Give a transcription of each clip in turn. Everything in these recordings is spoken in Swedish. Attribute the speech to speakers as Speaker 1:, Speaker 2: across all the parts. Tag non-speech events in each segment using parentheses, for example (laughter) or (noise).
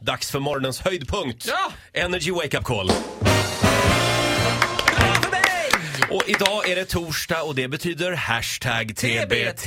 Speaker 1: Dags för morgonens höjdpunkt.
Speaker 2: Ja!
Speaker 1: Energy Wake Up Call. Och idag är det torsdag och det betyder hashtag TBT.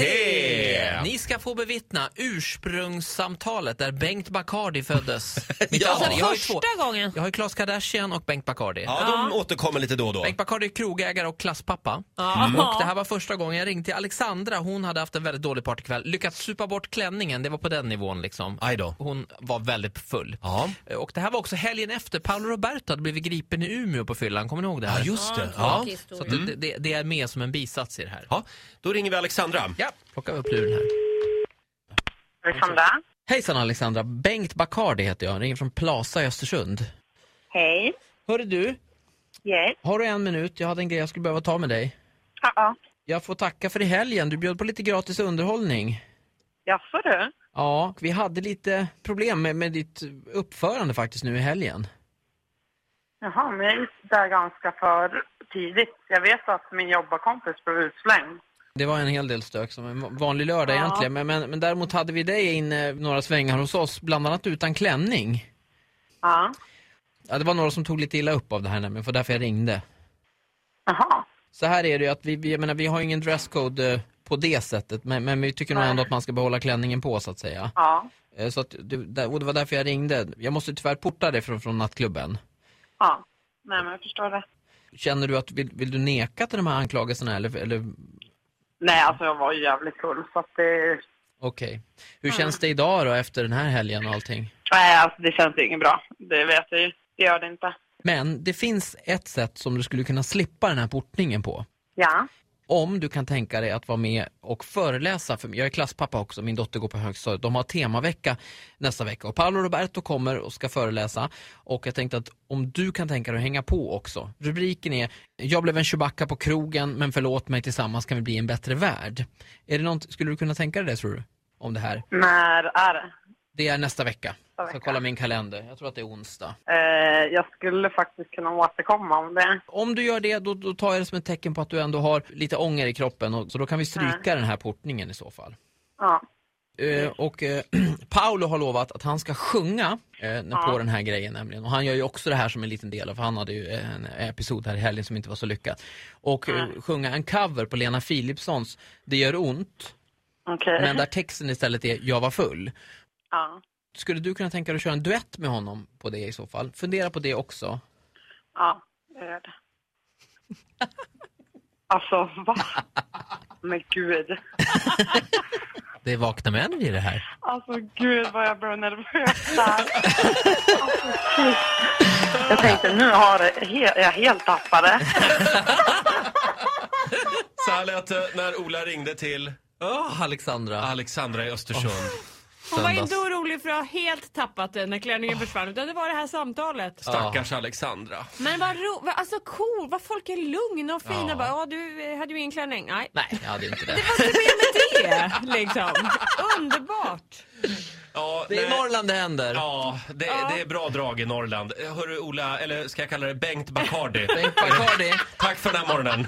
Speaker 2: Ni ska få bevittna ursprungssamtalet där Bengt Bacardi föddes.
Speaker 1: (laughs)
Speaker 2: Mitt
Speaker 1: Ja.
Speaker 2: andra- jag har ju två.
Speaker 3: Första gången.
Speaker 2: Jag har ju Klas Kardashian och Bengt Bacardi.
Speaker 1: Ja, de återkommer lite då och då.
Speaker 2: Bengt Bacardi är krogägare och klasspappa. Mm.
Speaker 3: Ja.
Speaker 2: Och det här var första gången jag ringde till Alexandra. Hon hade haft en väldigt dålig partykväll. Lyckats supa bort klänningen, det var på den nivån liksom.
Speaker 1: Aj då.
Speaker 2: Hon var väldigt full.
Speaker 1: Ja.
Speaker 2: Och det här var också helgen efter. Paolo Roberto hade blivit gripen i Umeå på fyllan, kommer ni ihåg det här?
Speaker 1: Ja, just det.
Speaker 3: Ja,
Speaker 1: Ja.
Speaker 3: tråkig
Speaker 2: Så att
Speaker 3: historia.
Speaker 2: det, det, det är med som en bisats i det här.
Speaker 1: ja. Då ringer vi Alexandra.
Speaker 2: Ja, plockar upp luren här.
Speaker 4: Alexandra.
Speaker 2: Hejsan Alexandra, Bengt Bacardi heter jag, ringer från Plaza i Östersund.
Speaker 4: Hej.
Speaker 2: Hörru du,
Speaker 4: Yes.
Speaker 2: har du en minut? Jag hade en grej jag skulle behöva ta med dig.
Speaker 4: Ja, ja.
Speaker 2: Jag får tacka för i helgen, du bjöd på lite gratis underhållning.
Speaker 4: Jaså du?
Speaker 2: Ja, vi hade lite problem med, med ditt uppförande faktiskt nu i helgen.
Speaker 4: Jaha, men jag gick där ganska för tidigt. Jag vet att min jobbarkompis blev utslängd.
Speaker 2: Det var en hel del stök som en vanlig lördag
Speaker 4: Ja.
Speaker 2: egentligen, men, men, men däremot hade vi dig inne några svängar hos oss, bland annat utan klänning.
Speaker 4: Ja.
Speaker 2: Ja, det var några som tog lite illa upp av det här nämligen, för därför jag ringde.
Speaker 4: Jaha.
Speaker 2: Så här är det ju att vi, vi jag menar, vi har ju ingen dresscode eh, på det sättet, men, men vi tycker nog
Speaker 4: Nej.
Speaker 2: ändå att man ska behålla klänningen på så att säga.
Speaker 4: Ja.
Speaker 2: Eh, Så att, det, där- och det var därför jag ringde. Jag måste tyvärr porta dig från, från nattklubben.
Speaker 4: Ja. Nej, men jag förstår det.
Speaker 2: Känner du att, vill, vill du neka till de här anklagelserna eller, eller
Speaker 4: Nej, alltså jag var ju jävligt full så att det...
Speaker 2: okej. Hur känns det idag då efter den här helgen och allting?
Speaker 4: Nej, alltså det känns inget bra. Det vet jag ju. Det gör det inte.
Speaker 2: Men det finns ett sätt som du skulle kunna slippa den här portningen på.
Speaker 4: Ja.
Speaker 2: Om du kan tänka dig att vara med och föreläsa, för jag är klasspappa också, min dotter går på högstadiet, de har temavecka nästa vecka och Paolo Roberto kommer och ska föreläsa och jag tänkte att om du kan tänka dig att hänga på också. Rubriken är “Jag blev en Chewbacca på krogen men förlåt mig tillsammans kan vi bli en bättre värld”. Är det något, skulle du kunna tänka dig det tror du? Om det här?
Speaker 4: När är det?
Speaker 2: Det är nästa vecka. Jag ska
Speaker 4: vecka.
Speaker 2: kolla min kalender, jag tror att det är onsdag.
Speaker 4: Eh, jag skulle faktiskt kunna återkomma om det.
Speaker 2: Om du gör det, då, då tar jag det som ett tecken på att du ändå har lite ånger i kroppen, och, så då kan vi stryka den här portningen i så fall.
Speaker 4: Ja.
Speaker 2: Eh, och eh, (clears throat) Paolo har lovat att han ska sjunga eh, när- på den här grejen nämligen. Och han gör ju också det här som en liten del av, för han hade ju en episod här i helgen som inte var så lyckad. Och eh, sjunga en cover på Lena Philipssons Det gör ont,
Speaker 4: Okej.
Speaker 2: men där texten istället är Jag var full.
Speaker 4: Ja.
Speaker 2: Skulle du kunna tänka dig att köra en duett med honom på det i så fall? Fundera på det också.
Speaker 4: Ja, jag gör det. Alltså, va? Men gud.
Speaker 2: Det är vakna män i det här.
Speaker 4: Alltså gud vad jag blev nervös där. Alltså, shit. jag tänkte nu har det he- jag helt tappat det.
Speaker 1: Så här lät det när Ola ringde till
Speaker 2: Oh, Alexandra.
Speaker 1: Alexandra i Östersund.
Speaker 3: Hon var
Speaker 2: söndags.
Speaker 3: inte orolig för att ha helt tappat den när klänningen försvann utan det var det här samtalet.
Speaker 1: Stackars Alexandra.
Speaker 3: Men vad ro, vad, alltså cool, vad folk är lugna och fina.
Speaker 2: Ja.
Speaker 3: Ja. Bara, ja du eh, hade ju ingen klänning. Nej.
Speaker 2: Nej, jag hade inte det.
Speaker 3: Vad ska vi göra med det liksom? Underbart.
Speaker 1: Ja,
Speaker 2: (laughs) Det är i
Speaker 1: nej.
Speaker 2: Norrland det händer.
Speaker 1: Ja, det, det är bra drag i Norrland. Eh, Hörru Ola, eller ska jag kalla det Bengt Bacardi.
Speaker 2: Bengt Bacardi.
Speaker 1: Tack för den här morgonen.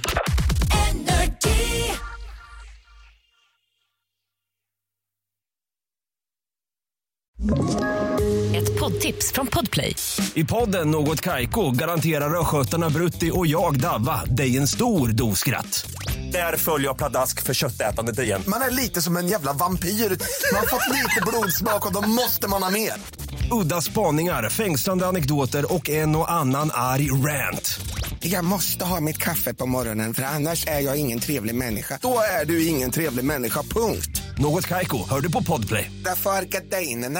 Speaker 5: Ett poddtips från Podplay.
Speaker 6: I podden Något Kaiko garanterar östgötarna Brutti och jag, Davva, dig en stor dos skratt. Där följer jag pladask för köttätandet igen.
Speaker 7: Man är lite som en jävla vampyr. Man har fått lite blodsmak och då måste man ha mer.
Speaker 6: Udda spaningar, fängslande anekdoter och en och annan arg rant.
Speaker 7: Jag måste ha mitt kaffe på morgonen för annars är jag ingen trevlig människa. Då är du ingen trevlig människa, punkt.
Speaker 6: Något Kaiko, hör du på Podplay.
Speaker 7: Därför arkadeinerna.